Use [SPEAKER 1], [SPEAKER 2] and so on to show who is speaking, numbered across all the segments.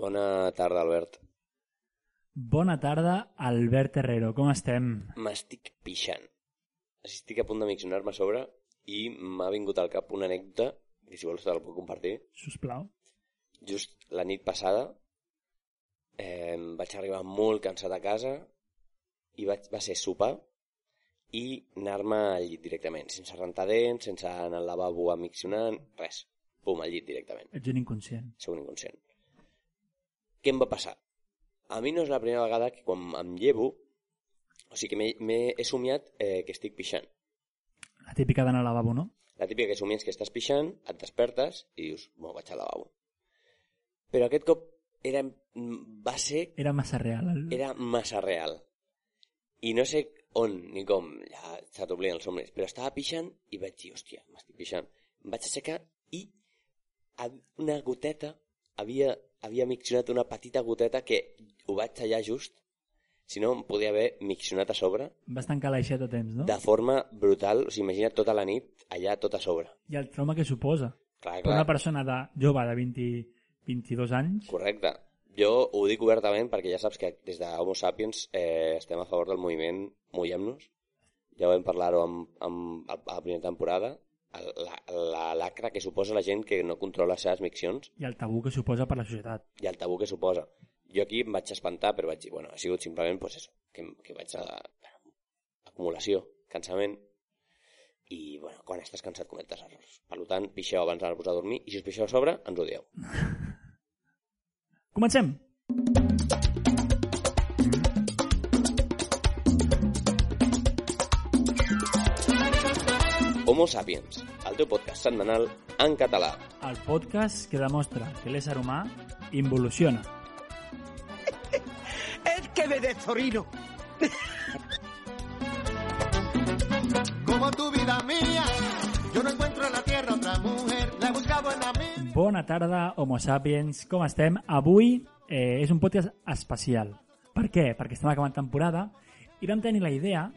[SPEAKER 1] Bona tarda, Albert.
[SPEAKER 2] Bona tarda, Albert Herrero. Com estem?
[SPEAKER 1] M'estic pixant. Estic a punt de miccionar-me a sobre i m'ha vingut al cap una anècdota que si vols te la puc compartir.
[SPEAKER 2] Sisplau.
[SPEAKER 1] Just la nit passada eh, vaig arribar molt cansat a casa i vaig, va ser sopar i anar-me al llit directament, sense rentar dents, sense anar al lavabo a miccionant, res. Pum, al llit directament.
[SPEAKER 2] Ets un inconscient.
[SPEAKER 1] Sóc un inconscient. Què em va passar? A mi no és la primera vegada que quan em llevo, o sigui que m'he- m'he- he somiat eh, que estic pixant.
[SPEAKER 2] La típica d'anar al lavabo, no?
[SPEAKER 1] La típica que somies que estàs pixant, et despertes i dius, bueno, vaig al lavabo. Però aquest cop era, mm, va ser,
[SPEAKER 2] Era massa real. El...
[SPEAKER 1] era massa real. I no sé on ni com, ja se t'obliden els somnis, però estava pixant i vaig dir, hòstia, m'estic pixant. Em vaig aixecar i ha- una goteta, havia, havia miccionat una petita goteta que ho vaig tallar just, si no em podia haver miccionat a sobre
[SPEAKER 2] Vas tancar l'aixeta a temps, no?
[SPEAKER 1] de forma brutal, o sigui, imagina't tota la nit allà tot a sobre.
[SPEAKER 2] I el trauma que suposa.
[SPEAKER 1] Clar,
[SPEAKER 2] Per
[SPEAKER 1] clar.
[SPEAKER 2] una persona de jove de 20, 22 anys,
[SPEAKER 1] Correcte. Jo ho dic obertament perquè ja saps que des de Homo Sapiens eh, estem a favor del moviment Mullem-nos. Ja vam parlar-ho amb, amb, a la primera temporada. El- La, la lacra que suposa la gent que no controla les seves miccions
[SPEAKER 2] i el tabú que suposa per la societat.
[SPEAKER 1] i el tabú que suposa. Jo aquí em vaig espantar, però vaig dir, bueno, ha sigut simplement pues, eso, que, que vaig a, acumulació, cansament, i bueno, quan estàs cansat cometes errors. Per tant, pixeu abans d'anar-vos a dormir, i si us pixeu a sobre, ens ho dieu.
[SPEAKER 2] Comencem!
[SPEAKER 1] Homo Sapiens, el teu podcast setmanal en català.
[SPEAKER 2] El podcast que demostra que l'ésser humà involuciona.
[SPEAKER 3] El que me desorino. Como tu vida mía, yo no encuentro en la tierra otra mujer. La he buscado en la mía.
[SPEAKER 2] Bona tarda, Homo Sapiens. Com estem? Avui eh, és un podcast especial. Per què? Perquè estem acabant temporada i vam tenir la idea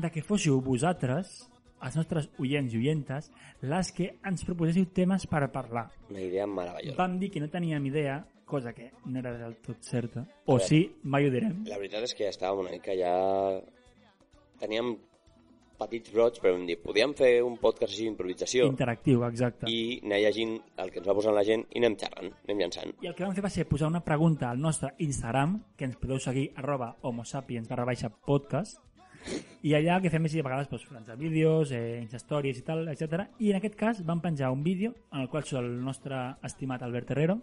[SPEAKER 2] de que fóssiu vosaltres, els nostres oients i oientes, les que ens proposéssiu temes per parlar.
[SPEAKER 1] Una idea meravellosa.
[SPEAKER 2] Vam dir que no teníem idea, cosa que no era del tot certa. O
[SPEAKER 1] veure.
[SPEAKER 2] sí, mai ho direm.
[SPEAKER 1] La veritat és que ja estàvem una mica ja... Teníem petits brots, però vam dir, podíem fer un podcast així d'improvisació
[SPEAKER 2] Interactiu, exacte. I...
[SPEAKER 1] i anar llegint el que ens va posant la gent i anem xerrant, anem llançant.
[SPEAKER 2] I el que vam fer va ser posar una pregunta al nostre Instagram, que ens podeu seguir, arroba homosapiens barra baixa podcast, i allà el que fem és de vegades doncs, llançar vídeos, eh, instastories i tal, etc. I en aquest cas vam penjar un vídeo en el qual surt el nostre estimat Albert Herrero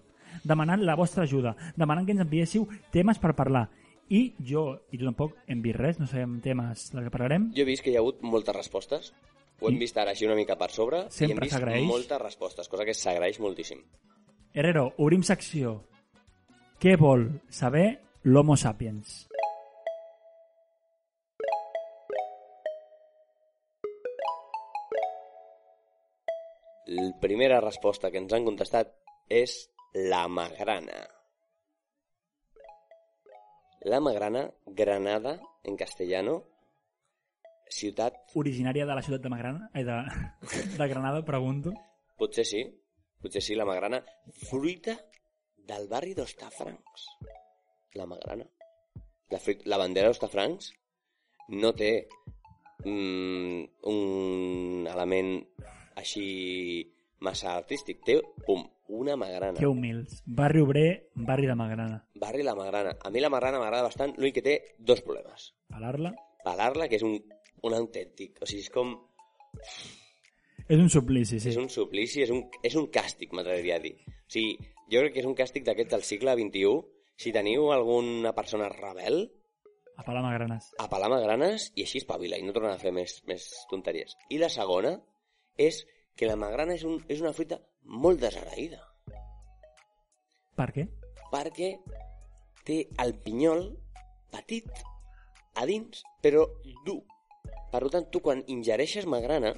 [SPEAKER 2] demanant la vostra ajuda, demanant que ens enviéssiu temes per parlar. I jo, i tu tampoc, hem vist res, no sabem temes del que parlarem.
[SPEAKER 1] Jo he vist que hi ha hagut moltes respostes. Ho hem vist ara així una mica per sobre i
[SPEAKER 2] Sempre
[SPEAKER 1] hem vist
[SPEAKER 2] s'agraeix.
[SPEAKER 1] moltes respostes, cosa que s'agraeix moltíssim.
[SPEAKER 2] Herrero, obrim secció. Què vol saber l'Homo sapiens?
[SPEAKER 1] La primera resposta que ens han contestat és la magrana. La magrana, Granada, en castellano, ciutat,
[SPEAKER 2] Originària de la ciutat de Magrana, eh, de, de Granada, pregunto.
[SPEAKER 1] potser sí, potser sí, la magrana, fruita del barri d'Ostafrancs. La magrana. La, fruit, la bandera d'Ostafrancs no té mm, un element així massa artístic, té, pum, una magrana.
[SPEAKER 2] Que humils. Barri obrer, barri de Magrana.
[SPEAKER 1] Barri la Magrana. A mi la Magrana m'agrada bastant, l'únic que té dos problemes.
[SPEAKER 2] Palar-la
[SPEAKER 1] Pelar-la, que és un, un autèntic, o sigui, és com...
[SPEAKER 2] és un suplici, sí.
[SPEAKER 1] És un suplici, és un, és un càstig, m'atreviria a dir. O sigui, jo crec que és un càstig d'aquest del segle XXI. Si teniu alguna persona rebel,
[SPEAKER 2] A Palar Magranes.
[SPEAKER 1] a pelar magranes i així espavila i no torna a fer més, més tonteries. I la segona és que la magrana és, un, és una fruita molt desagraïda.
[SPEAKER 2] Per què?
[SPEAKER 1] perquè té el pinyol petit a dins, però dur. Per tant, tu quan ingereixes magrana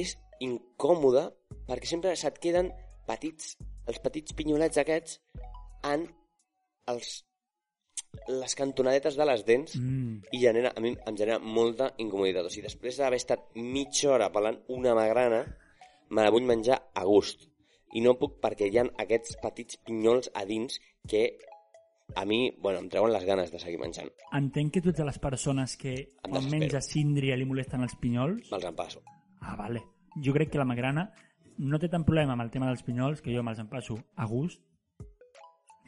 [SPEAKER 1] és incòmode perquè sempre se't queden petits, els petits pinyolets aquests en els, les cantonadetes de les dents
[SPEAKER 2] Mm.
[SPEAKER 1] i genera, a mi em genera molta incomoditat. O sigui, després d'haver estat mitja hora pelant una magrana, me la vull menjar a gust. I no puc perquè hi ha aquests petits pinyols a dins que a mi, bueno, em treuen les ganes de seguir menjant.
[SPEAKER 2] Entenc que tu ets de les persones que
[SPEAKER 1] Em
[SPEAKER 2] quan
[SPEAKER 1] desespero.
[SPEAKER 2] menja síndria li molesten els pinyols.
[SPEAKER 1] Me'ls empasso.
[SPEAKER 2] Ah, vale. Jo crec que la magrana no té tant problema amb el tema dels pinyols, que jo me'ls empasso a gust,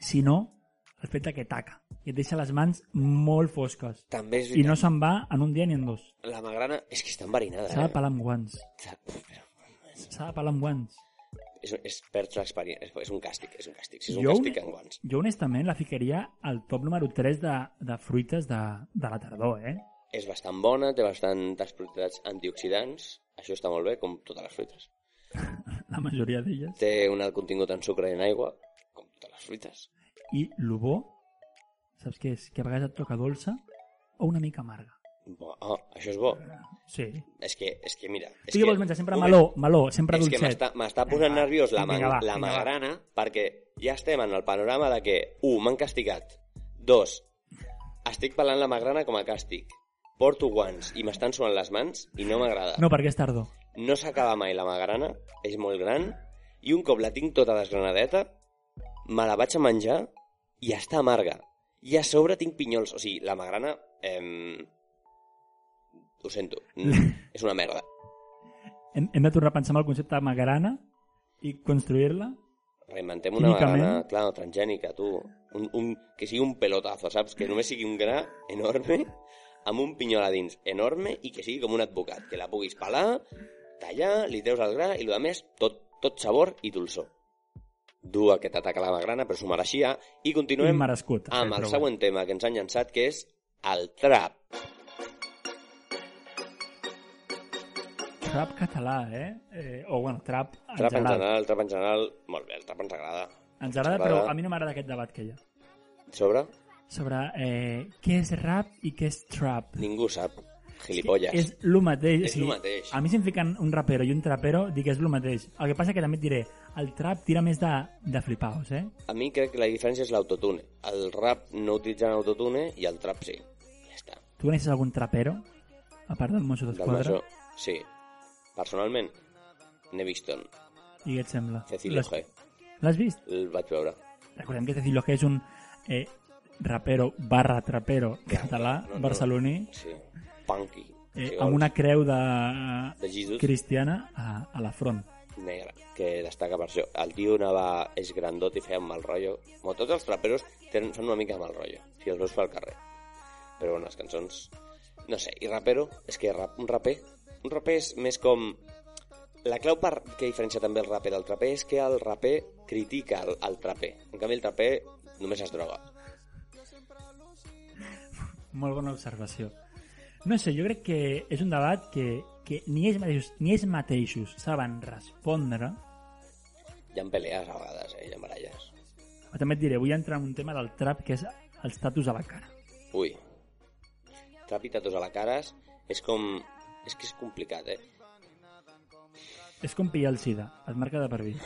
[SPEAKER 2] sinó el fet de que taca i et deixa les mans molt fosques.
[SPEAKER 1] També és
[SPEAKER 2] I no
[SPEAKER 1] veritat.
[SPEAKER 2] se'n va en un dia ni en dos.
[SPEAKER 1] La magrana és que està enverinada,
[SPEAKER 2] S'ha de
[SPEAKER 1] eh?
[SPEAKER 2] pelar amb guants.
[SPEAKER 1] S'ha- Uf, però
[SPEAKER 2] S'ha de pelar amb guants.
[SPEAKER 1] És, és perdre l'experiència. És, és un càstig, és un càstig. Si és un
[SPEAKER 2] Jo,
[SPEAKER 1] càstig, en guants.
[SPEAKER 2] jo honestament la ficaria al top número 3 de, de fruites de, de la tardor, eh?
[SPEAKER 1] És bastant bona, té bastantes propietats antioxidants. Això està molt bé, com totes les fruites.
[SPEAKER 2] La majoria d'elles.
[SPEAKER 1] Té un alt contingut en sucre i en aigua, com totes les fruites.
[SPEAKER 2] I el bo, saps què és? Que a vegades et toca dolça o una mica amarga.
[SPEAKER 1] Bo, oh, això és bo.
[SPEAKER 2] Sí.
[SPEAKER 1] És que, és que mira... És
[SPEAKER 2] Tu
[SPEAKER 1] que,
[SPEAKER 2] què vols menjar? Sempre
[SPEAKER 1] Moment.
[SPEAKER 2] meló, meló, sempre
[SPEAKER 1] És que
[SPEAKER 2] dolcet.
[SPEAKER 1] m'està m'està posant
[SPEAKER 2] Vinga, va.
[SPEAKER 1] nerviós la,
[SPEAKER 2] Vinga,
[SPEAKER 1] man,
[SPEAKER 2] va,
[SPEAKER 1] la
[SPEAKER 2] vinga, va.
[SPEAKER 1] magrana perquè ja estem en el panorama de que, un, m'han castigat, dos, estic pelant la magrana com a càstig, porto guants i m'estan suant les mans i no m'agrada.
[SPEAKER 2] No, perquè és tardor.
[SPEAKER 1] no s'acaba mai la magrana, és molt gran, i un cop la tinc tota desgranadeta, me la vaig a menjar i està amarga. I a sobre tinc pinyols, o sigui, la magrana... Ehm... Ho sento, és una merda.
[SPEAKER 2] Hem, hem de tornar a pensar en el concepte de magrana i construir-la.
[SPEAKER 1] Reinventem una
[SPEAKER 2] Químicament?
[SPEAKER 1] magrana, clar, transgènica, tu. Un, un, que sigui un pelotazo, saps? Que només sigui un gra enorme amb un pinyol a dins enorme i que sigui com un advocat, que la puguis pelar, tallar, li treus el gra i el més tot, tot sabor i dolçor. Dur aquest atac a la magrana, però s'ho mereixia. I
[SPEAKER 2] Continuem.
[SPEAKER 1] continuem
[SPEAKER 2] merescut.
[SPEAKER 1] amb el
[SPEAKER 2] Eh, Però
[SPEAKER 1] següent tema que ens han llançat, que és el trap.
[SPEAKER 2] bé. Trap català, eh? eh o, bueno, trap,
[SPEAKER 1] Trap en
[SPEAKER 2] en general.
[SPEAKER 1] general, trap en general... Molt bé, el trap ens agrada.
[SPEAKER 2] Ens agrada,
[SPEAKER 1] Ens
[SPEAKER 2] però
[SPEAKER 1] agrada.
[SPEAKER 2] a mi no m'agrada aquest debat que hi ha.
[SPEAKER 1] Sobre?
[SPEAKER 2] Sobre eh, què és rap i què és trap.
[SPEAKER 1] Ningú sap. Gilipolles.
[SPEAKER 2] És el mateix.
[SPEAKER 1] És
[SPEAKER 2] o sigui,
[SPEAKER 1] lo mateix.
[SPEAKER 2] A mi si em fiquen un rapero i un trapero, dic que és el mateix. El que passa que també et diré, el trap tira més de, de flipaos, eh?
[SPEAKER 1] A mi crec que la diferència és l'autotune. El rap no utilitzen autotune i el trap sí. Ja està.
[SPEAKER 2] Tu coneixes algun trapero? A part del Mosso
[SPEAKER 1] Del
[SPEAKER 2] d'Esquadra?
[SPEAKER 1] Masó, sí. Personalment, n'he vist on.
[SPEAKER 2] I què et sembla?
[SPEAKER 1] Cecilio
[SPEAKER 2] L'has-
[SPEAKER 1] G.
[SPEAKER 2] L'has vist?
[SPEAKER 1] El vaig veure.
[SPEAKER 2] Recordem que Cecilio G és un eh, rapero barra trapero català,
[SPEAKER 1] no, no.
[SPEAKER 2] barceloní,
[SPEAKER 1] Sí. Punky.
[SPEAKER 2] eh,
[SPEAKER 1] si
[SPEAKER 2] amb
[SPEAKER 1] vols,
[SPEAKER 2] una creu de,
[SPEAKER 1] De Jesus,
[SPEAKER 2] cristiana a, a la front.
[SPEAKER 1] negra, que destaca per això. El tio anava, és grandot i feia un mal rotllo. Com tots els traperos tenen, són una mica mal rotllo, si els veus pel carrer. Però bueno, les cançons... No sé, i rapero, és que rap, un raper... Un raper és més com... La clau per que diferencia també el raper del traper és que el raper critica el, el traper. En canvi, el traper només es droga.
[SPEAKER 2] Molt bona observació. No sé, jo crec que és un debat que, que ni, ells mateixos, ni ells mateixos saben respondre.
[SPEAKER 1] Hi ha pelees a vegades, eh? Hi ha baralles.
[SPEAKER 2] Però també et diré, vull entrar en un tema del trap que és els tatus a la cara.
[SPEAKER 1] Ui. Trap i tatus a la cara és- és com... És que és complicat, eh?
[SPEAKER 2] És com pillar el sida, et marca de per vida.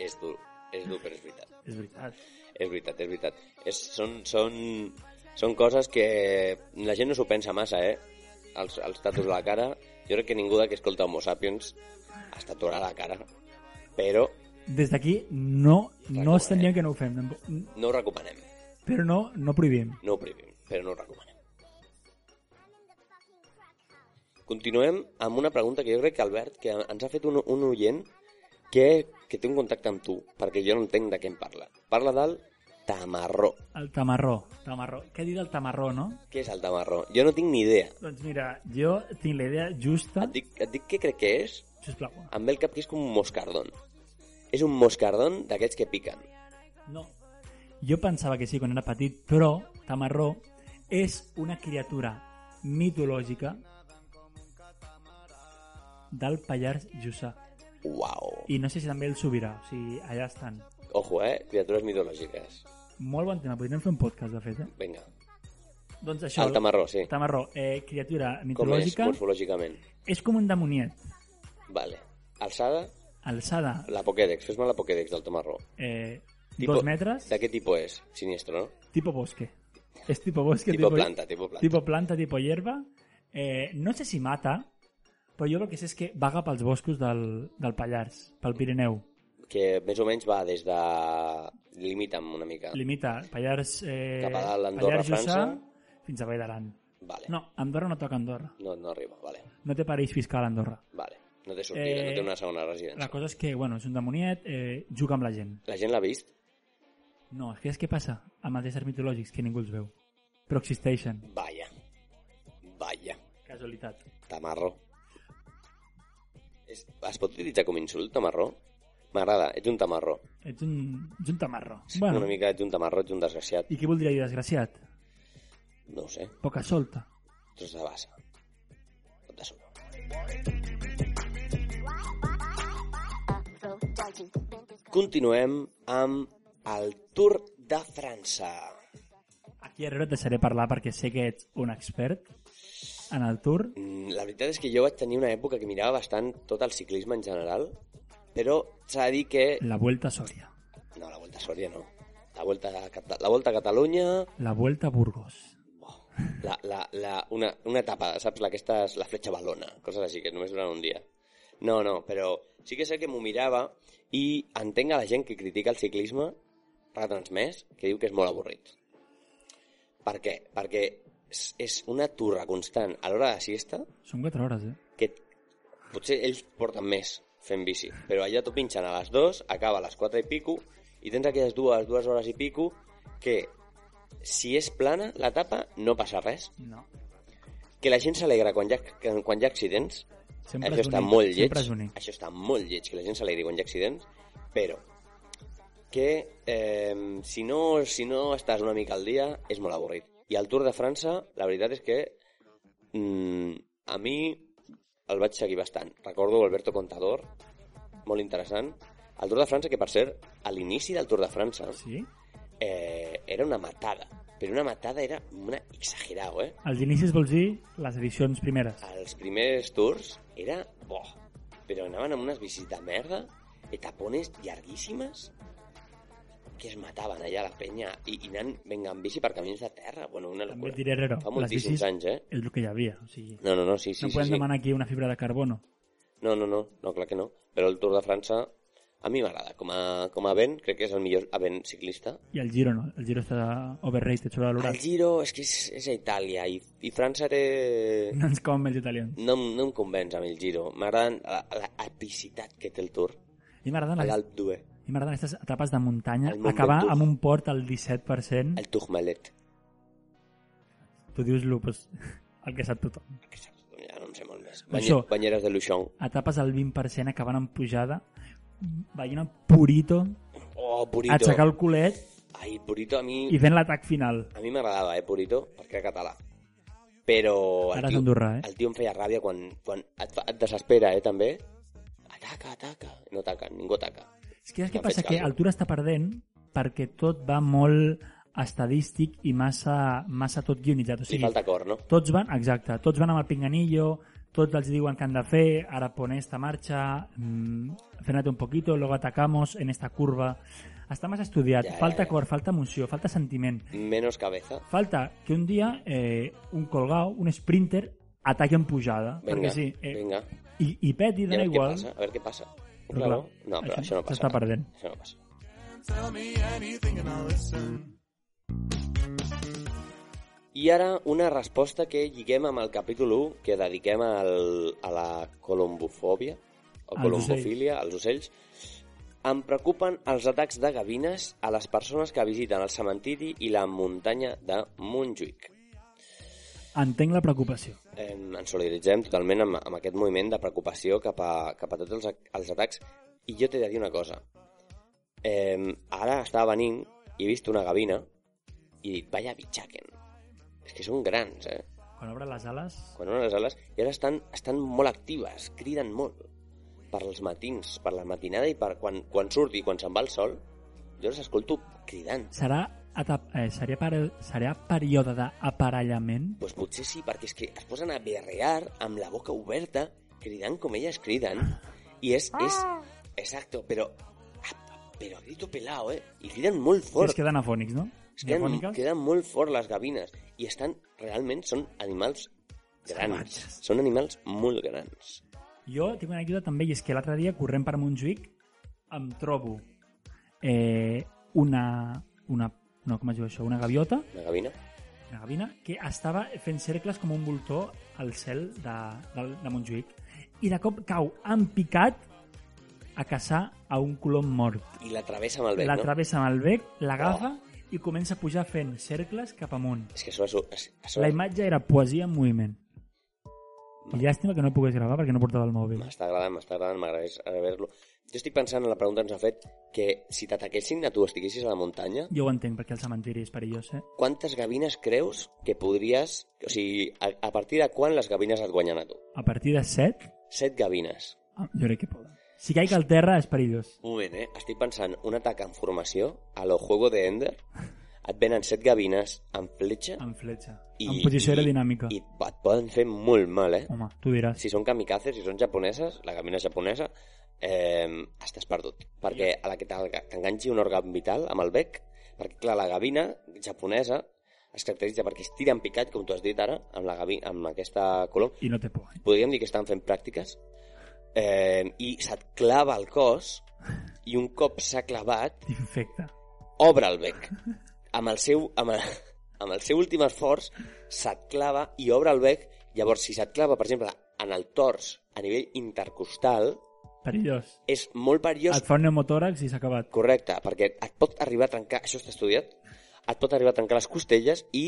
[SPEAKER 1] És dur. És dur, però és veritat.
[SPEAKER 2] És veritat.
[SPEAKER 1] És veritat, és veritat. És, són, són, són coses que la gent no s'ho pensa massa, eh? Els, els tatus a la cara. Jo crec que ningú de que escolta Homo Sapiens es tatuarà la cara. Però
[SPEAKER 2] Des d'aquí no, no
[SPEAKER 1] Recomanem.
[SPEAKER 2] estem dient que no ho fem, tampoc.
[SPEAKER 1] no ho recomanem.
[SPEAKER 2] però no, no prohibim.
[SPEAKER 1] No ho prohibim, però no ho recomanem. Continuem amb una pregunta que jo crec que Albert, que ens ha fet un, un oient que, que té un contacte amb tu, perquè jo no entenc de què em parla. Parla del tamarró.
[SPEAKER 2] El tamarró. tamarró. Què dir del tamarró, no?
[SPEAKER 1] Què és el tamarró? Jo no tinc ni idea.
[SPEAKER 2] Doncs mira, jo tinc la idea justa...
[SPEAKER 1] Et dic, et dic què crec que és,
[SPEAKER 2] Sisplau.
[SPEAKER 1] em ve el cap que és com un moscardón. És un moscardón d'aquests que piquen.
[SPEAKER 2] No. Jo pensava que sí quan era petit, però tamarró és una criatura mitològica del Pallars Jussà.
[SPEAKER 1] Uau.
[SPEAKER 2] I no sé si també el Sobirà, o sigui, allà estan.
[SPEAKER 1] Ojo, eh? Criatures mitològiques.
[SPEAKER 2] Molt bon tema, podríem fer un podcast, de fet, eh?
[SPEAKER 1] Vinga.
[SPEAKER 2] Doncs això,
[SPEAKER 1] El tamarró, sí.
[SPEAKER 2] tamarró eh, criatura
[SPEAKER 1] Com és
[SPEAKER 2] mitològica,
[SPEAKER 1] morfològicament?
[SPEAKER 2] és com un demoniet.
[SPEAKER 1] Vale. Alçada,
[SPEAKER 2] Alçada,
[SPEAKER 1] la Pokédex. Fes-me la Pokédex del tamarró.
[SPEAKER 2] eh,
[SPEAKER 1] Tipo-
[SPEAKER 2] dos metres,
[SPEAKER 1] De què tipus és? Sinistro, no?
[SPEAKER 2] tipo bosque. És tipo bosque,
[SPEAKER 1] Tipo planta, tipo planta.
[SPEAKER 2] Tipo planta, tipo hierba. Eh, no sé si mata, però jo el que sé és que vaga pels boscos del, del Pallars, pel Pirineu.
[SPEAKER 1] que més o menys va des de... Limita'm una mica.
[SPEAKER 2] Limita Pallars, eh,
[SPEAKER 1] Cap a dalt, Andorra,
[SPEAKER 2] Pallars Jussà,
[SPEAKER 1] França.
[SPEAKER 2] fins a Vall d'Aran.
[SPEAKER 1] Vale.
[SPEAKER 2] No, Andorra no toca Andorra.
[SPEAKER 1] No, no arriba, vale.
[SPEAKER 2] No té pareix fiscal a Andorra.
[SPEAKER 1] vale. No té sortida,
[SPEAKER 2] Eh,
[SPEAKER 1] no té una segona residència.
[SPEAKER 2] La
[SPEAKER 1] La,
[SPEAKER 2] cosa és que, bueno, és un demoniet, eh, juga amb la gent.
[SPEAKER 1] gent l'ha vist?
[SPEAKER 2] No, és que és què passa amb els éssers mitològics que ningú els veu. Però existeixen.
[SPEAKER 1] Vaya. Vaya.
[SPEAKER 2] Casualitat.
[SPEAKER 1] Tamarro. Es, es pot utilitzar com insult, tamarro? M'agrada, ets un tamarro.
[SPEAKER 2] Ets un, ets un tamarro.
[SPEAKER 1] Bueno. Una mica ets un tamarro, ets un desgraciat.
[SPEAKER 2] I què voldria dir desgraciat?
[SPEAKER 1] No ho sé,
[SPEAKER 2] Poca solta.
[SPEAKER 1] tros de bassa. Tot de sobre. Continuem amb el Tour de França.
[SPEAKER 2] Aquí darrere et deixaré parlar perquè sé que ets un expert en el tour.
[SPEAKER 1] Mm, La veritat és que jo vaig tenir una època que mirava bastant tot el ciclisme en general, però s'ha de dir que...
[SPEAKER 2] La Vuelta a Sòria.
[SPEAKER 1] No, la Volta a Sòria no. La Volta a, Cata- la Volta a Catalunya,
[SPEAKER 2] La Vuelta a Burgos.
[SPEAKER 1] la, la, la, una, una etapa, saps? Aquesta és la fletxa balona, coses així, que només duran un dia. No, no, però sí que és cert que m'ho mirava i entenc a la gent que critica el ciclisme retransmès, que diu que és molt avorrit. Per què? Perquè és, és una turra constant a l'hora de siesta
[SPEAKER 2] Són 4 hores, eh?
[SPEAKER 1] que potser ells porten més fent bici, però allà t'ho pinxen a les 2, acaba a les 4 i pico, i tens aquelles dues, dues hores i pico, que si és plana l'etapa no passa res,
[SPEAKER 2] No.
[SPEAKER 1] que la gent s'alegra quan, hi ha- que- quan hi ha accidents,
[SPEAKER 2] Sempre
[SPEAKER 1] això
[SPEAKER 2] és
[SPEAKER 1] està
[SPEAKER 2] bonic,
[SPEAKER 1] molt lleig,
[SPEAKER 2] Sempre és bonic.
[SPEAKER 1] això està molt lleig, que la gent s'alegri quan hi ha accidents, però que eh, si, no, si no estàs una mica al dia és molt avorrit. I el Tour de França, la veritat és que mm, a mi el vaig seguir bastant. Recordo Alberto Contador, molt interessant. El Tour de França, que per cert, a l'inici del Tour de França
[SPEAKER 2] Sí?
[SPEAKER 1] eh, era una matada, però una matada era una exagerada, eh?
[SPEAKER 2] Els inicis vols dir les edicions primeres.
[SPEAKER 1] els primers tours era bo, però anaven amb unes bicis de merda, etapones llarguíssimes, que es mataven allà a la penya i, i anant, venga, amb bici per camins de terra. Bueno, una
[SPEAKER 2] També
[SPEAKER 1] locura.
[SPEAKER 2] et diré, Herrero,
[SPEAKER 1] Fa
[SPEAKER 2] les
[SPEAKER 1] moltíssims
[SPEAKER 2] bicis
[SPEAKER 1] anys, eh?
[SPEAKER 2] és el que hi havia. O sigui,
[SPEAKER 1] No, no, no, sí, sí,
[SPEAKER 2] no
[SPEAKER 1] sí,
[SPEAKER 2] podem
[SPEAKER 1] sí.
[SPEAKER 2] demanar aquí una fibra de carbono.
[SPEAKER 1] No, no, no, no, clar que no. Però el Tour de França a mi m'agrada. Com, a, com a vent, crec que és el millor vent ciclista.
[SPEAKER 2] I el Giro no. El Giro està overrated,
[SPEAKER 1] El
[SPEAKER 2] sobrevalorat.
[SPEAKER 1] Giro és que és, és a Itàlia i, i França té...
[SPEAKER 2] No ens com els italians.
[SPEAKER 1] No, em- no em convenç amb el Giro. M'agrada l'epicitat que té el Tour.
[SPEAKER 2] I m'agraden les,
[SPEAKER 1] L'Alpe d'Huez,
[SPEAKER 2] i m'agraden aquestes etapes de muntanya.
[SPEAKER 1] El Mont
[SPEAKER 2] Acabar
[SPEAKER 1] Ventoux.
[SPEAKER 2] amb un port al 17%,
[SPEAKER 1] el Tourmalet.
[SPEAKER 2] tu dius-lo, pues, el que sap tothom.
[SPEAKER 1] que saps, ja no en sé molt més.
[SPEAKER 2] Això.
[SPEAKER 1] Banyer, banyeres de Luixong.
[SPEAKER 2] etapes al 20% acabant amb pujada, veient el Purito,
[SPEAKER 1] Oh, Purito.
[SPEAKER 2] aixecar el culet
[SPEAKER 1] Ai, Purito a mi...
[SPEAKER 2] i fent l'atac final.
[SPEAKER 1] A mi m'agradava, eh, Purito, perquè era català. Però el
[SPEAKER 2] Ara és
[SPEAKER 1] tio,
[SPEAKER 2] Andorra, eh?
[SPEAKER 1] el tio em feia ràbia quan, quan et, fa- et desespera, eh, també. Ataca, ataca. No ataca, ningú ataca.
[SPEAKER 2] És que és que
[SPEAKER 1] Em
[SPEAKER 2] passa
[SPEAKER 1] faig
[SPEAKER 2] que
[SPEAKER 1] caldo.
[SPEAKER 2] el Tour està perdent perquè tot va molt estadístic i massa, massa tot guionitzat. O
[SPEAKER 1] Li
[SPEAKER 2] sigui,
[SPEAKER 1] falta cor, no?
[SPEAKER 2] tots van, exacte, tots van amb el pinganillo, tots els diuen que han de fer, ara pon esta marxa, mm, frenate un poquito, luego atacamos en esta curva. Està massa estudiat,
[SPEAKER 1] Ja, ja,
[SPEAKER 2] falta
[SPEAKER 1] ja.
[SPEAKER 2] cor, falta emoció, falta sentiment.
[SPEAKER 1] Menos cabeza.
[SPEAKER 2] falta que un dia eh, un colgao, un sprinter, ataqui en pujada.
[SPEAKER 1] Venga,
[SPEAKER 2] perquè sí, eh,
[SPEAKER 1] venga.
[SPEAKER 2] i, i peti,
[SPEAKER 1] I a
[SPEAKER 2] dona
[SPEAKER 1] veure què
[SPEAKER 2] igual.
[SPEAKER 1] passa, a veure què passa. Un
[SPEAKER 2] Però
[SPEAKER 1] clavó?
[SPEAKER 2] clar,
[SPEAKER 1] No, però
[SPEAKER 2] això
[SPEAKER 1] això, no passa.
[SPEAKER 2] s'està perdent.
[SPEAKER 1] Això no passa.
[SPEAKER 3] Tell me anything and I'll listen.
[SPEAKER 1] I ara una resposta que lliguem amb el capítol 1 que dediquem al, a la colombofòbia o
[SPEAKER 2] Als
[SPEAKER 1] colombofília, als ocells. Em preocupen els atacs de gavines a les persones que visiten el cementiri i la muntanya de Montjuïc.
[SPEAKER 2] Entenc la preocupació.
[SPEAKER 1] Eh, ens solidaritzem totalment amb, amb aquest moviment de preocupació cap a, cap a tots els, ac- els atacs. I jo t'he de dir una cosa. Eh, ara estava venint i he vist una gavina i he dit, vaya bitxaquen. És que són grans, eh?
[SPEAKER 2] Quan obre les ales...
[SPEAKER 1] quan obren les ales, i ara estan, estan molt actives, criden molt per als matins, per la matinada i per quan, quan surt i quan se'n va el sol, jo les escolto cridant.
[SPEAKER 2] Serà, etap, eh, seria, per, serà període d'aparellament?
[SPEAKER 1] Doncs potser sí, perquè és que es posen a berrear amb la boca oberta, cridant com elles criden, i és... és exacto, però... ah, Però a grito pelao, eh? I criden molt
[SPEAKER 2] Fort.
[SPEAKER 1] fort.
[SPEAKER 2] Es queden afònics, no?
[SPEAKER 1] Es queden,
[SPEAKER 2] Afòniques?
[SPEAKER 1] queden molt fort les gavines. I estan... Realment són animals grans.
[SPEAKER 2] Salvatges.
[SPEAKER 1] Són animals molt grans.
[SPEAKER 2] Jo tinc una anècdota també, i és que l'altre dia, corrent per Montjuïc, em trobo eh, una, una, no, com es diu això, una gaviota,
[SPEAKER 1] Una gavina.
[SPEAKER 2] una gavina, que estava fent cercles com un voltor al cel de, de, de Montjuïc. I de cop cau en picat a caçar a un colom mort.
[SPEAKER 1] I la travessa amb el bec,
[SPEAKER 2] la
[SPEAKER 1] no? Oh.
[SPEAKER 2] travessa amb el bec, l'agafa i comença a pujar fent cercles cap amunt.
[SPEAKER 1] És que a sobre... su- es- A
[SPEAKER 2] La
[SPEAKER 1] sobre...
[SPEAKER 2] imatge era poesia en moviment. I llàstima que no pogués gravar perquè no portava el mòbil.
[SPEAKER 1] M'està agradant, m'està agradant, m'agradés haver-lo. Jo estic pensant en la pregunta que ens ha fet que si t'ataquessin a tu estiguessis a la muntanya,
[SPEAKER 2] Jo ho entenc, perquè el cementiri és perillós, eh?
[SPEAKER 1] quantes gavines creus que podries... O sigui, a, a partir de quan les gavines et guanyen a tu?
[SPEAKER 2] A partir de 7,
[SPEAKER 1] Set gavines.
[SPEAKER 2] jo crec que poden. Si caic al terra és perillós.
[SPEAKER 1] Un moment, eh? Estic pensant un atac en formació a lo juego de Ender. Et venen set gavines amb fletxa
[SPEAKER 2] En fletxa.
[SPEAKER 1] i...
[SPEAKER 2] en posició aerodinàmica.
[SPEAKER 1] I, I et poden fer molt mal, eh?
[SPEAKER 2] Home, tu diràs.
[SPEAKER 1] Si són kamikazes, si són japoneses, la gavina japonesa, eh, estàs perdut. Perquè a la que t'enga- t'enganxi un òrgan vital amb el bec, perquè, clar, la gavina japonesa es caracteritza perquè es tira en picat, com tu has dit ara, amb, la gavi, amb aquesta color,
[SPEAKER 2] I no té por, eh?
[SPEAKER 1] podríem dir que estan fent pràctiques, eh, i se't clava al cos, i un cop s'ha clavat,
[SPEAKER 2] Infecta.
[SPEAKER 1] obre el bec. Amb el seu, amb el, amb el seu últim esforç, se't clava i obre el bec. Llavors, si se't clava, per exemple, en el tors, a nivell intercostal,
[SPEAKER 2] Perillós.
[SPEAKER 1] és molt perillós.
[SPEAKER 2] Et fa un pneumotòrax i s'ha acabat.
[SPEAKER 1] Correcte, perquè et pot arribar a trencar, això està estudiat, et pot arribar a trencar les costelles i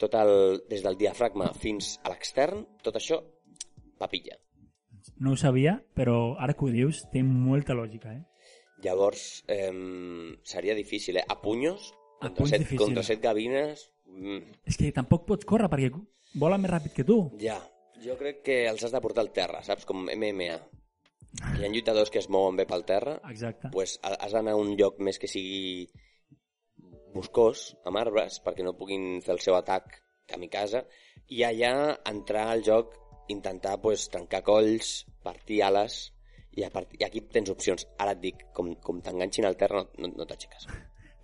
[SPEAKER 1] tot el, des del diafragma fins a l'extern, tot això, papilla.
[SPEAKER 2] No ho sabia, però ara que ho dius té molta lògica, eh?
[SPEAKER 1] Llavors, eh, seria difícil, eh? A punyos,
[SPEAKER 2] A
[SPEAKER 1] contra,
[SPEAKER 2] punys
[SPEAKER 1] set,
[SPEAKER 2] difícil.
[SPEAKER 1] contra set gavines... Mm,
[SPEAKER 2] És que tampoc pots córrer perquè vola més ràpid que tu.
[SPEAKER 1] ja, jo crec que els has de portar al terra, saps? Com MMA. Hi ha lluitadors que es mouen bé pel terra,
[SPEAKER 2] Exacte.
[SPEAKER 1] pues ha- has d'anar a un lloc més que sigui boscós, amb arbres, perquè no puguin fer el seu atac kamikaze, i allà entrar al joc, intentar pues, trencar colls, partir ales, i, a part... i aquí tens opcions. Ara et dic, com, com t'enganxin al terra, no, no, no t'aixeques.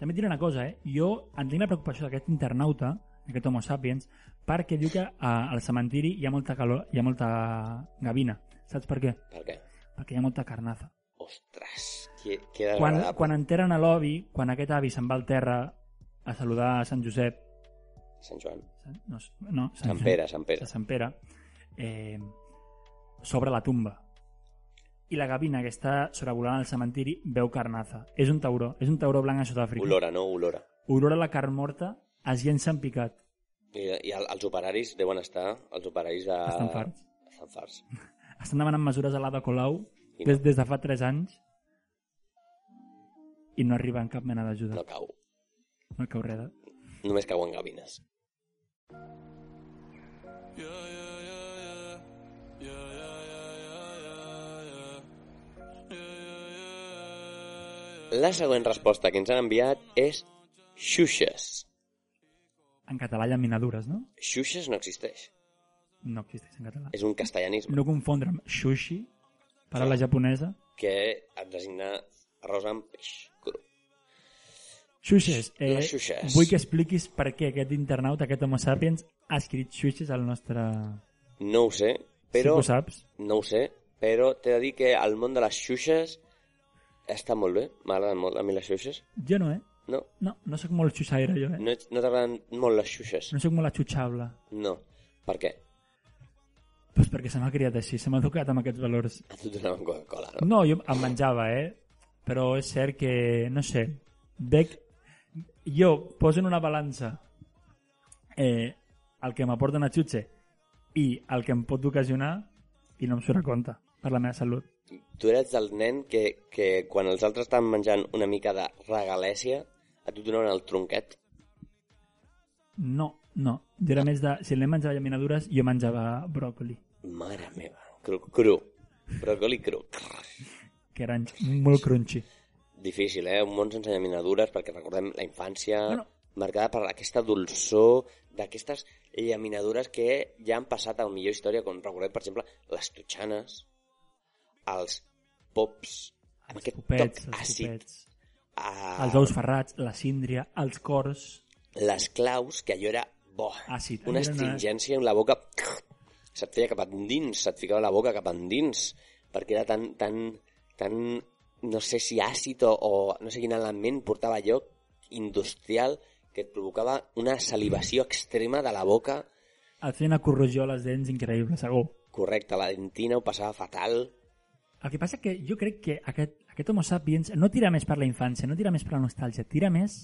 [SPEAKER 2] També et diré una cosa, eh? Jo entenc la preocupació d'aquest internauta, d'aquest homo sapiens, perquè diu que a, al cementiri hi ha molta calor, hi ha molta gavina. Saps per què?
[SPEAKER 1] Per què?
[SPEAKER 2] Perquè hi ha molta carnaza.
[SPEAKER 1] Ostres, que, que
[SPEAKER 2] Quan,
[SPEAKER 1] desagradable.
[SPEAKER 2] quan enteren a l'obi, quan aquest avi se'n va al terra a saludar a Sant Josep,
[SPEAKER 1] Sant Joan.
[SPEAKER 2] no, no Sant,
[SPEAKER 1] Sant Pere, Sant
[SPEAKER 2] a
[SPEAKER 1] Pere.
[SPEAKER 2] Sant Pere, eh, s'obre la tumba. I la gavina que està sobrevolant el cementiri veu carnaza. És un tauró, és un tauró blanc a Sud-àfrica.
[SPEAKER 1] Olora, no? Olora.
[SPEAKER 2] Olora la carn morta, es llença en picat.
[SPEAKER 1] I, i el, els operaris deuen estar... Els operaris de...
[SPEAKER 2] Estan farts.
[SPEAKER 1] Estan farts.
[SPEAKER 2] Estan demanant mesures a l'Ada Colau
[SPEAKER 1] I no.
[SPEAKER 2] des, des de fa 3 anys i no arriben cap mena d'ajuda.
[SPEAKER 1] No cau.
[SPEAKER 2] No cau res. de-
[SPEAKER 1] Només cauen gavines. La següent resposta que ens han enviat és xuxes.
[SPEAKER 2] En català hi ha minadures, no?
[SPEAKER 1] Xuxes no existeix.
[SPEAKER 2] No existeix en català.
[SPEAKER 1] És un castellanisme
[SPEAKER 2] No confondre amb sushi, paraula japonesa.
[SPEAKER 1] que et designa arròs amb peix cru.
[SPEAKER 2] Xuxes, eh,
[SPEAKER 1] Les xuxes.
[SPEAKER 2] vull que expliquis per què aquest internauta, aquest homo sapiens, ha escrit xuxes al nostre...
[SPEAKER 1] No ho sé,
[SPEAKER 2] Sí
[SPEAKER 1] però...
[SPEAKER 2] que ho saps.
[SPEAKER 1] No ho sé, però t'he de dir que el món de les xuxes està molt bé. M'agraden molt a mi les xuxes.
[SPEAKER 2] Jo no, eh?
[SPEAKER 1] No,
[SPEAKER 2] No, no sóc molt xuxaire, jo, eh?
[SPEAKER 1] no, ets- no t'agraden molt les xuxes.
[SPEAKER 2] No sóc molt axutxable.
[SPEAKER 1] No. Per què?
[SPEAKER 2] Pues perquè se m'ha criat així, se m'ha educat amb aquests valors.
[SPEAKER 1] A tu et donaven Coca-Cola, no?
[SPEAKER 2] No, jo em menjava, eh? Però és cert que, no sé, veig... Jo poso en una balança eh, el que m'aporta una xutxe i el que em pot ocasionar i no em surt a compte per la meva salut.
[SPEAKER 1] Tu eres el nen que, que quan els altres estaven menjant una mica de regalèsia, a tu et donaven el tronquet.
[SPEAKER 2] No, no. Jo era més de... Si l'he menjava llaminadures, jo menjava bròcoli,
[SPEAKER 1] Mare meva. Cru. cru. Bròcoli cru. Crrr.
[SPEAKER 2] que eren molt crunchy.
[SPEAKER 1] Difícil, eh? Un món sense llaminadures, perquè recordem la infància
[SPEAKER 2] Bueno.
[SPEAKER 1] marcada per aquesta dolçor d'aquestes llaminadures que ja han passat a la millor història, com recordem, per exemple, les totxanes, els pops, amb aquest
[SPEAKER 2] Copets,
[SPEAKER 1] toc
[SPEAKER 2] els
[SPEAKER 1] àcid,
[SPEAKER 2] copets.
[SPEAKER 1] a...
[SPEAKER 2] Els ous ferrats, la síndria, els cors...
[SPEAKER 1] les claus, que allò era bo.
[SPEAKER 2] Àcid.
[SPEAKER 1] Una
[SPEAKER 2] Allò era una-
[SPEAKER 1] astringència en la boca. Se't feia cap endins, se't ficava la boca cap endins, perquè era tan, tan, tan no sé si àcid o, o no sé quin element portava jo, industrial, que et provocava una salivació extrema de la boca.
[SPEAKER 2] Et feia una corrosió a les dents increïble, segur.
[SPEAKER 1] Correcte, la dentina ho passava fatal.
[SPEAKER 2] El que passa que jo crec que aquest, aquest homo sapiens no tira més per la infància, no tira més per la nostàlgia, tira més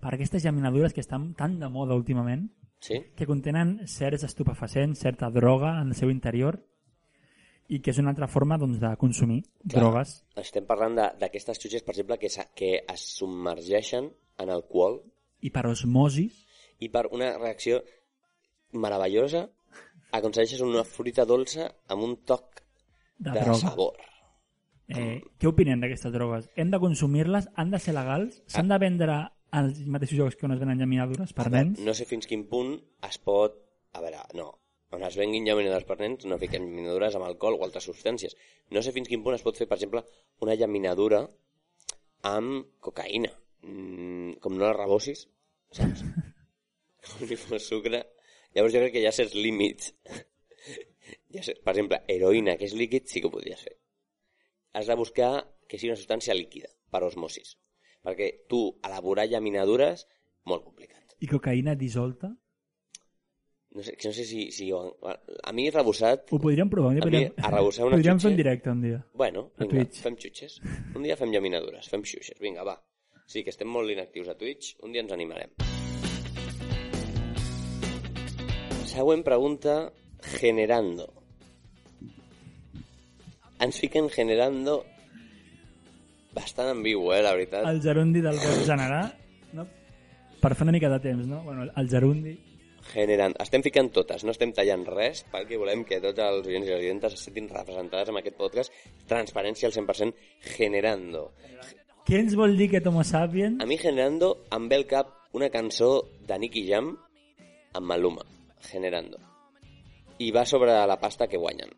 [SPEAKER 2] per aquestes llaminadures que estan tan de moda últimament,
[SPEAKER 1] Sí?
[SPEAKER 2] que contenen certs estupefacents, certa droga en el seu interior i que és una altra forma doncs, de consumir
[SPEAKER 1] Clar.
[SPEAKER 2] drogues.
[SPEAKER 1] Estem parlant de- d'aquestes xutxes, per exemple, que, sa- que es submergeixen en alcohol
[SPEAKER 2] I per osmosis,
[SPEAKER 1] i per una reacció meravellosa aconsegueixes una fruita dolça amb un toc
[SPEAKER 2] de,
[SPEAKER 1] de,
[SPEAKER 2] droga.
[SPEAKER 1] sabor.
[SPEAKER 2] Eh, què opinen d'aquestes drogues? Hem de consumir-les? Han de ser legals? S'han de vendre als mateixos jocs que on es venen llaminadures per nens?
[SPEAKER 1] No sé fins quin punt es pot... A veure, no. On es venguin llaminadores per nens no fiquem llaminadures amb alcohol o altres substàncies. No sé fins quin punt es pot fer, per exemple, una llaminadura amb cocaïna. Mm, com no la rebossis, saps? com si fos sucre. Llavors jo crec que hi ha certs límits. ja sé, per exemple, heroïna, que és líquid, sí que ho podries fer. Has de buscar que sigui una substància líquida, per osmosis. Perquè tu elaborar llaminadures, molt complicat.
[SPEAKER 2] I cocaïna dissolta?
[SPEAKER 1] No sé, no sé si, si ho han... A mi rebossat...
[SPEAKER 2] Ho podríem provar. Un dia
[SPEAKER 1] A mi
[SPEAKER 2] podríem,
[SPEAKER 1] arrebossar una
[SPEAKER 2] podríem fer
[SPEAKER 1] xutxa.
[SPEAKER 2] un directe un dia.
[SPEAKER 1] Bueno,
[SPEAKER 2] A
[SPEAKER 1] vinga,
[SPEAKER 2] Twitch.
[SPEAKER 1] fem xutxes. Un dia fem llaminadures, fem xuxes. Vinga, va. Sí, que estem molt inactius a Twitch. Un dia ens animarem. Següent pregunta. Generando. Ens fiquen generando bastant ambigu, eh, la veritat.
[SPEAKER 2] El gerundi del verb generar, no? per fer una mica de temps, no? Bueno, el gerundi...
[SPEAKER 1] generant. Estem ficant totes, no estem tallant res, perquè volem que tots els oients i les oientes es sentin representades en aquest podcast. Transparència al 100% generando.
[SPEAKER 2] Què ens vol dir que Homo sapiens?
[SPEAKER 1] A mi generando em ve al cap una cançó de Nicky Jam amb Maluma, generando. I va sobre la pasta que guanyen.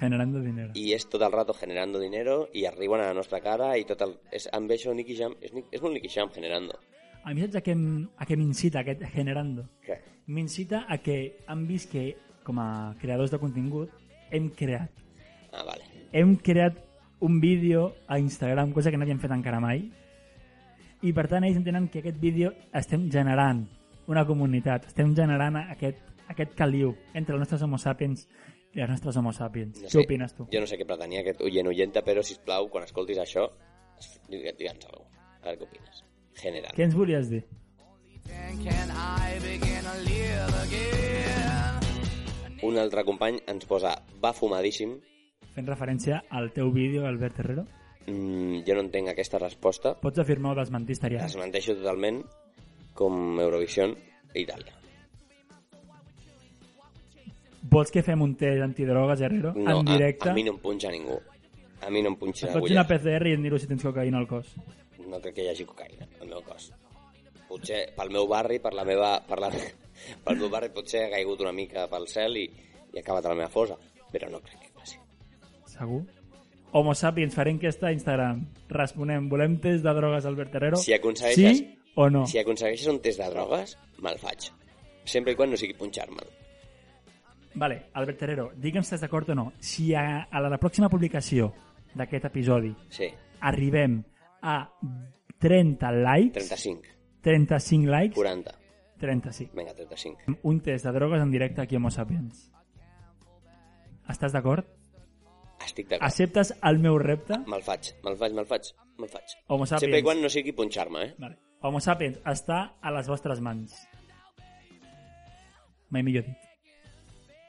[SPEAKER 2] Generando dinero.
[SPEAKER 1] I és tot el rato generando dinero i arriben a la nostra cara i tot el... És, em ve això Nicky Jam, és, Ni- és molt Nicky Jam generando.
[SPEAKER 2] A mi saps a què, em- a què m'incita aquest generando?
[SPEAKER 1] Què?
[SPEAKER 2] M'incita a que han vist que, com a creadors de contingut, hem creat
[SPEAKER 1] Ah, vale.
[SPEAKER 2] hem creat un vídeo a Instagram, cosa que no havíem fet encara mai, i per tant ells entenen que aquest vídeo estem generant una comunitat, estem generant aquest, aquest caliu entre els nostres homo sapiens i les nostres homo sapiens.
[SPEAKER 1] No
[SPEAKER 2] Què
[SPEAKER 1] sé,
[SPEAKER 2] opines tu?
[SPEAKER 1] Jo no sé què pretenia aquest oient oienta, però, si plau, quan escoltis això, es- digue- digue'ns alguna cosa. A veure què opines. General.
[SPEAKER 2] Què ens volies dir?
[SPEAKER 4] Can I begin to live again?
[SPEAKER 1] Un altre company ens posa va fumadíssim.
[SPEAKER 2] Fent referència al teu vídeo, Albert Herrero.
[SPEAKER 1] Mm, jo no entenc aquesta resposta.
[SPEAKER 2] Pots afirmar o desmentir, estaria.
[SPEAKER 1] Es menteixo totalment com Eurovision i Itàlia.
[SPEAKER 2] Vols que fem un test antidrogues, Herrero?
[SPEAKER 1] No,
[SPEAKER 2] en
[SPEAKER 1] a,
[SPEAKER 2] directe?
[SPEAKER 1] a, mi no em punxa ningú. A mi no em punxa
[SPEAKER 2] Et
[SPEAKER 1] ningú.
[SPEAKER 2] fots una PCR i em diré si tens cocaïna al cos.
[SPEAKER 1] No crec que hi hagi cocaïna al meu cos. Potser pel meu barri, per la meva... Per la... Pel meu barri potser ha caigut una mica pel cel i, i ha acabat a la meva fosa, però no crec que passi.
[SPEAKER 2] Segur? Homo sapiens, faré enquesta a Instagram. Responem, volem test de drogues, Albert Herrero?
[SPEAKER 1] Si aconsegueixes-
[SPEAKER 2] Sí o no?
[SPEAKER 1] Si aconsegueixes un test de drogues, me'l faig. Sempre i quan no sigui punxar-me'l.
[SPEAKER 2] Vale, Albert Herrero, digue'm si estàs d'acord o no. Si a, a la, la pròxima publicació d'aquest episodi
[SPEAKER 1] Sí,
[SPEAKER 2] arribem a 30 likes,
[SPEAKER 1] 35,
[SPEAKER 2] 35 likes,
[SPEAKER 1] 40.
[SPEAKER 2] 35.
[SPEAKER 1] Vinga, 35.
[SPEAKER 2] Un test de drogues en directe aquí a Homo sapiens. Estàs d'acord?
[SPEAKER 1] Estic d'acord.
[SPEAKER 2] Acceptes el meu repte?
[SPEAKER 1] Me'l faig, me'l faig, me'l faig, me'l faig.
[SPEAKER 2] Homo sapiens.
[SPEAKER 1] Sempre i quan no sigui punxar-me, eh?
[SPEAKER 2] Vale. Homo sapiens, està a les vostres mans. Mai millor dit.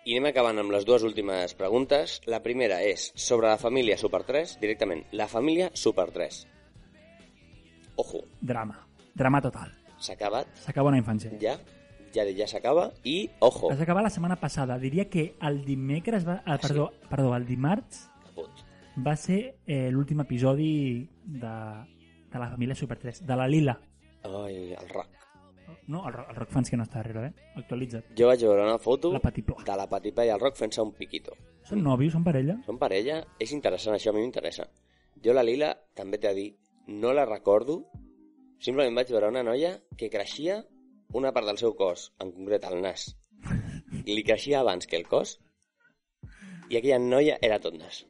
[SPEAKER 1] I anem acabant amb les dues últimes preguntes. La primera és sobre la família Super 3, directament. La família Super 3. Ojo,
[SPEAKER 2] Drama. Drama total.
[SPEAKER 1] s'ha acabat,
[SPEAKER 2] S'acaba una infància.
[SPEAKER 1] ja, ja, ja s'acaba, i ojo,
[SPEAKER 2] Es va acabar la setmana passada. Diria que el dimecres... Va, ah, perdó, perdó, el dimarts
[SPEAKER 1] caput.
[SPEAKER 2] va ser eh, l'últim episodi de, de la família Super 3, de la Lila.
[SPEAKER 1] Ai, el rock.
[SPEAKER 2] No, el, ro- el rock fans que no està darrere, eh? Actualitza't.
[SPEAKER 1] Jo vaig veure una foto
[SPEAKER 2] La Patipla.
[SPEAKER 1] de la Patipa i el rock fent-se un piquito.
[SPEAKER 2] Són nòvios, són parella?
[SPEAKER 1] Són parella? És interessant, això a mi m'interessa. Jo la Lila, també t'he de dir, no la recordo. Simplement vaig veure una noia que creixia una part del seu cos, en concret el nas. Li creixia abans que el cos i aquella noia era tot nas.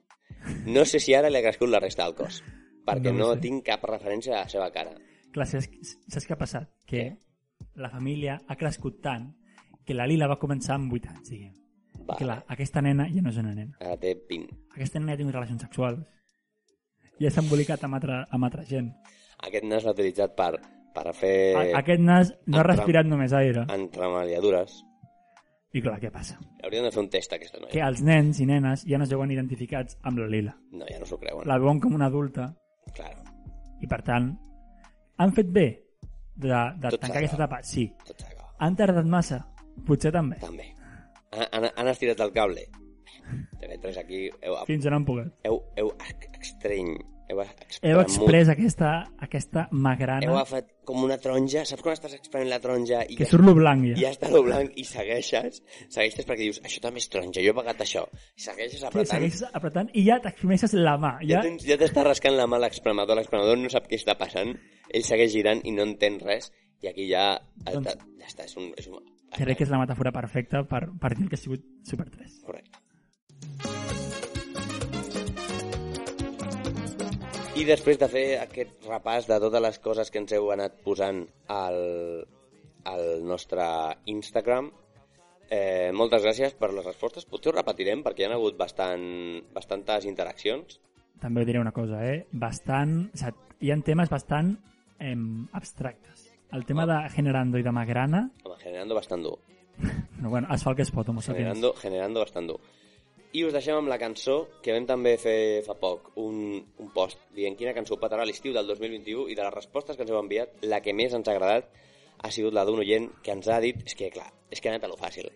[SPEAKER 1] No sé si ara li ha crescut la resta del cos. perquè
[SPEAKER 2] No
[SPEAKER 1] no,
[SPEAKER 2] ho sé.
[SPEAKER 1] tinc cap referència a la seva cara.
[SPEAKER 2] Clar, saps, saps què ha passat? Que la família ha crescut tant que la Lila va començar amb 8 anys, diguem.
[SPEAKER 1] Va,
[SPEAKER 2] I clar, aquesta nena ja no és una nena.
[SPEAKER 1] ara té 20.
[SPEAKER 2] Aquesta nena ja ha tingut relacions sexuals. Ja s'ha embolicat amb altra, amb altra gent.
[SPEAKER 1] Aquest nas l'ha utilitzat per, per fer
[SPEAKER 2] Eh, Aquest nas no ha
[SPEAKER 1] entra-
[SPEAKER 2] respirat només aire.
[SPEAKER 1] entremaliadures.
[SPEAKER 2] I clar, què passa?
[SPEAKER 1] Haurien de fer un test, aquesta noia.
[SPEAKER 2] Que els nens i nenes ja no es veuen identificats amb la Lila.
[SPEAKER 1] No, ja no s'ho creuen.
[SPEAKER 2] La veuen com una adulta
[SPEAKER 1] Claro,
[SPEAKER 2] i, per tant, han fet bé de, de
[SPEAKER 1] Tot s'ha
[SPEAKER 2] tancar aquesta
[SPEAKER 1] acabat.
[SPEAKER 2] etapa? Sí.
[SPEAKER 1] tot s'acaba.
[SPEAKER 2] Han tardat massa? Potser també.
[SPEAKER 1] També. Han, han, han estirat el cable. TV3 aquí heu,
[SPEAKER 2] Fins on han pogut.
[SPEAKER 1] heu, heu ex- estreny, heu
[SPEAKER 2] Heu
[SPEAKER 1] espremut,
[SPEAKER 2] exprès aquesta, aquesta
[SPEAKER 1] heu
[SPEAKER 2] magrana
[SPEAKER 1] agafat com una taronja, saps quan estàs exprenent la taronja i
[SPEAKER 2] que
[SPEAKER 1] ja,
[SPEAKER 2] surt lo blanc ja.
[SPEAKER 1] ja està lo blanc i segueixes, segueixes perquè dius, això també és taronja, jo he pagat això, i segueixes
[SPEAKER 2] Sí,
[SPEAKER 1] apretant,
[SPEAKER 2] segueixes apretant i ja t'exprimeixes la mà.
[SPEAKER 1] ja
[SPEAKER 2] Ja,
[SPEAKER 1] tens- ja t'està rascant la mà l'expremador, l'expremador no sap què està passant, ell segueix girant i no entén res, i aquí ja,
[SPEAKER 2] Doncs-
[SPEAKER 1] ja, ja està, és un... És un
[SPEAKER 2] crec que és la metàfora perfecta per, per dir que ha sigut Super 3.
[SPEAKER 1] Correcte. I després de fer aquest repàs de totes les coses que ens heu anat posant al, al nostre Instagram, eh, moltes gràcies per les respostes. Potser ho repetirem perquè hi ha hagut bastant, bastantes interaccions.
[SPEAKER 2] També diré una cosa, eh? Bastant... O sigui, hi ha temes bastant eh, abstractes. El tema de Generando i de Magrana,
[SPEAKER 1] Home, generando bastant dur.
[SPEAKER 2] no, bueno, es fa el que es pot, homo sapiens.
[SPEAKER 1] Generando, generando bastant dur. I us deixem amb la cançó que vam també fer fa poc, un, un post, dient quina cançó petarà a l'estiu del 2021 i de les respostes que ens heu enviat, la que més ens ha agradat ha sigut la d'un oient que ens ha dit, és que clar, és que ha anat a lo fàcil,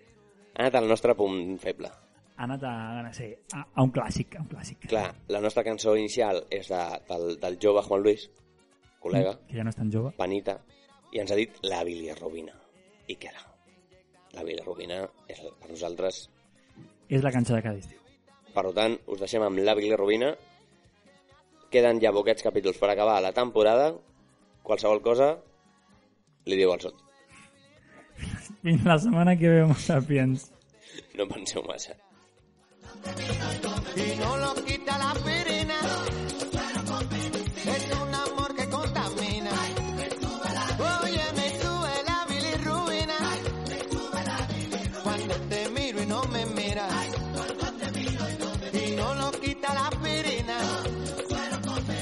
[SPEAKER 1] ha anat al nostre punt feble.
[SPEAKER 2] Ha anat a, no sé, a, a un clàssic, a un clàssic.
[SPEAKER 1] Clar, la nostra cançó inicial és de, del, del jove Juan Luis, col·lega,
[SPEAKER 2] Que ja no és tan jove.
[SPEAKER 1] panita, i ens ha dit la bilirrubina. I que la, la bilirrubina és per nosaltres
[SPEAKER 2] És la cançó de cada estiu.
[SPEAKER 1] Per tant, us deixem amb la Rubina. Queden ja poquets capítols per acabar la temporada. Qualsevol cosa, li diu al sot.
[SPEAKER 2] Fins la setmana que ve, homo sapiens.
[SPEAKER 1] No penseu massa.
[SPEAKER 3] y no lo quita la pirina. Es un amor que contamina. Oye, me sube la bilirrubina. Cuando te miro y no me miras. Y no lo quita la pirina.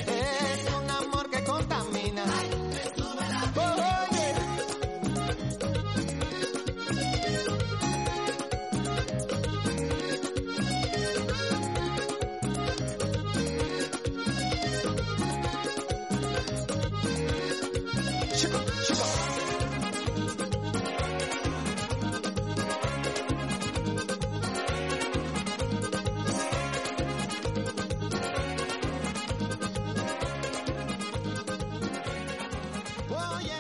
[SPEAKER 3] Es un amor que contamina. Oye. Oye,